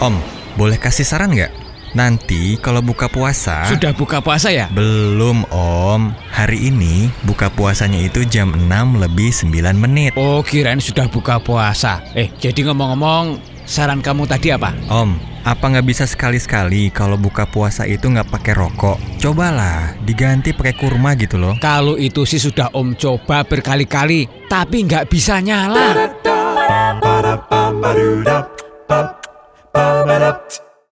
Om, boleh kasih saran nggak? Nanti kalau buka puasa... Sudah buka puasa ya? Belum om, hari ini buka puasanya itu jam 6 lebih 9 menit Oh, kirain sudah buka puasa. Eh, jadi ngomong-ngomong, saran kamu tadi apa? Om, apa nggak bisa sekali-sekali kalau buka puasa itu nggak pakai rokok? Cobalah, diganti pakai kurma gitu loh Kalau itu sih sudah Om coba berkali-kali, tapi nggak bisa nyala. Ba-da-bum, ba-da-bum, ba-doo-da, ba- ba-ba-da.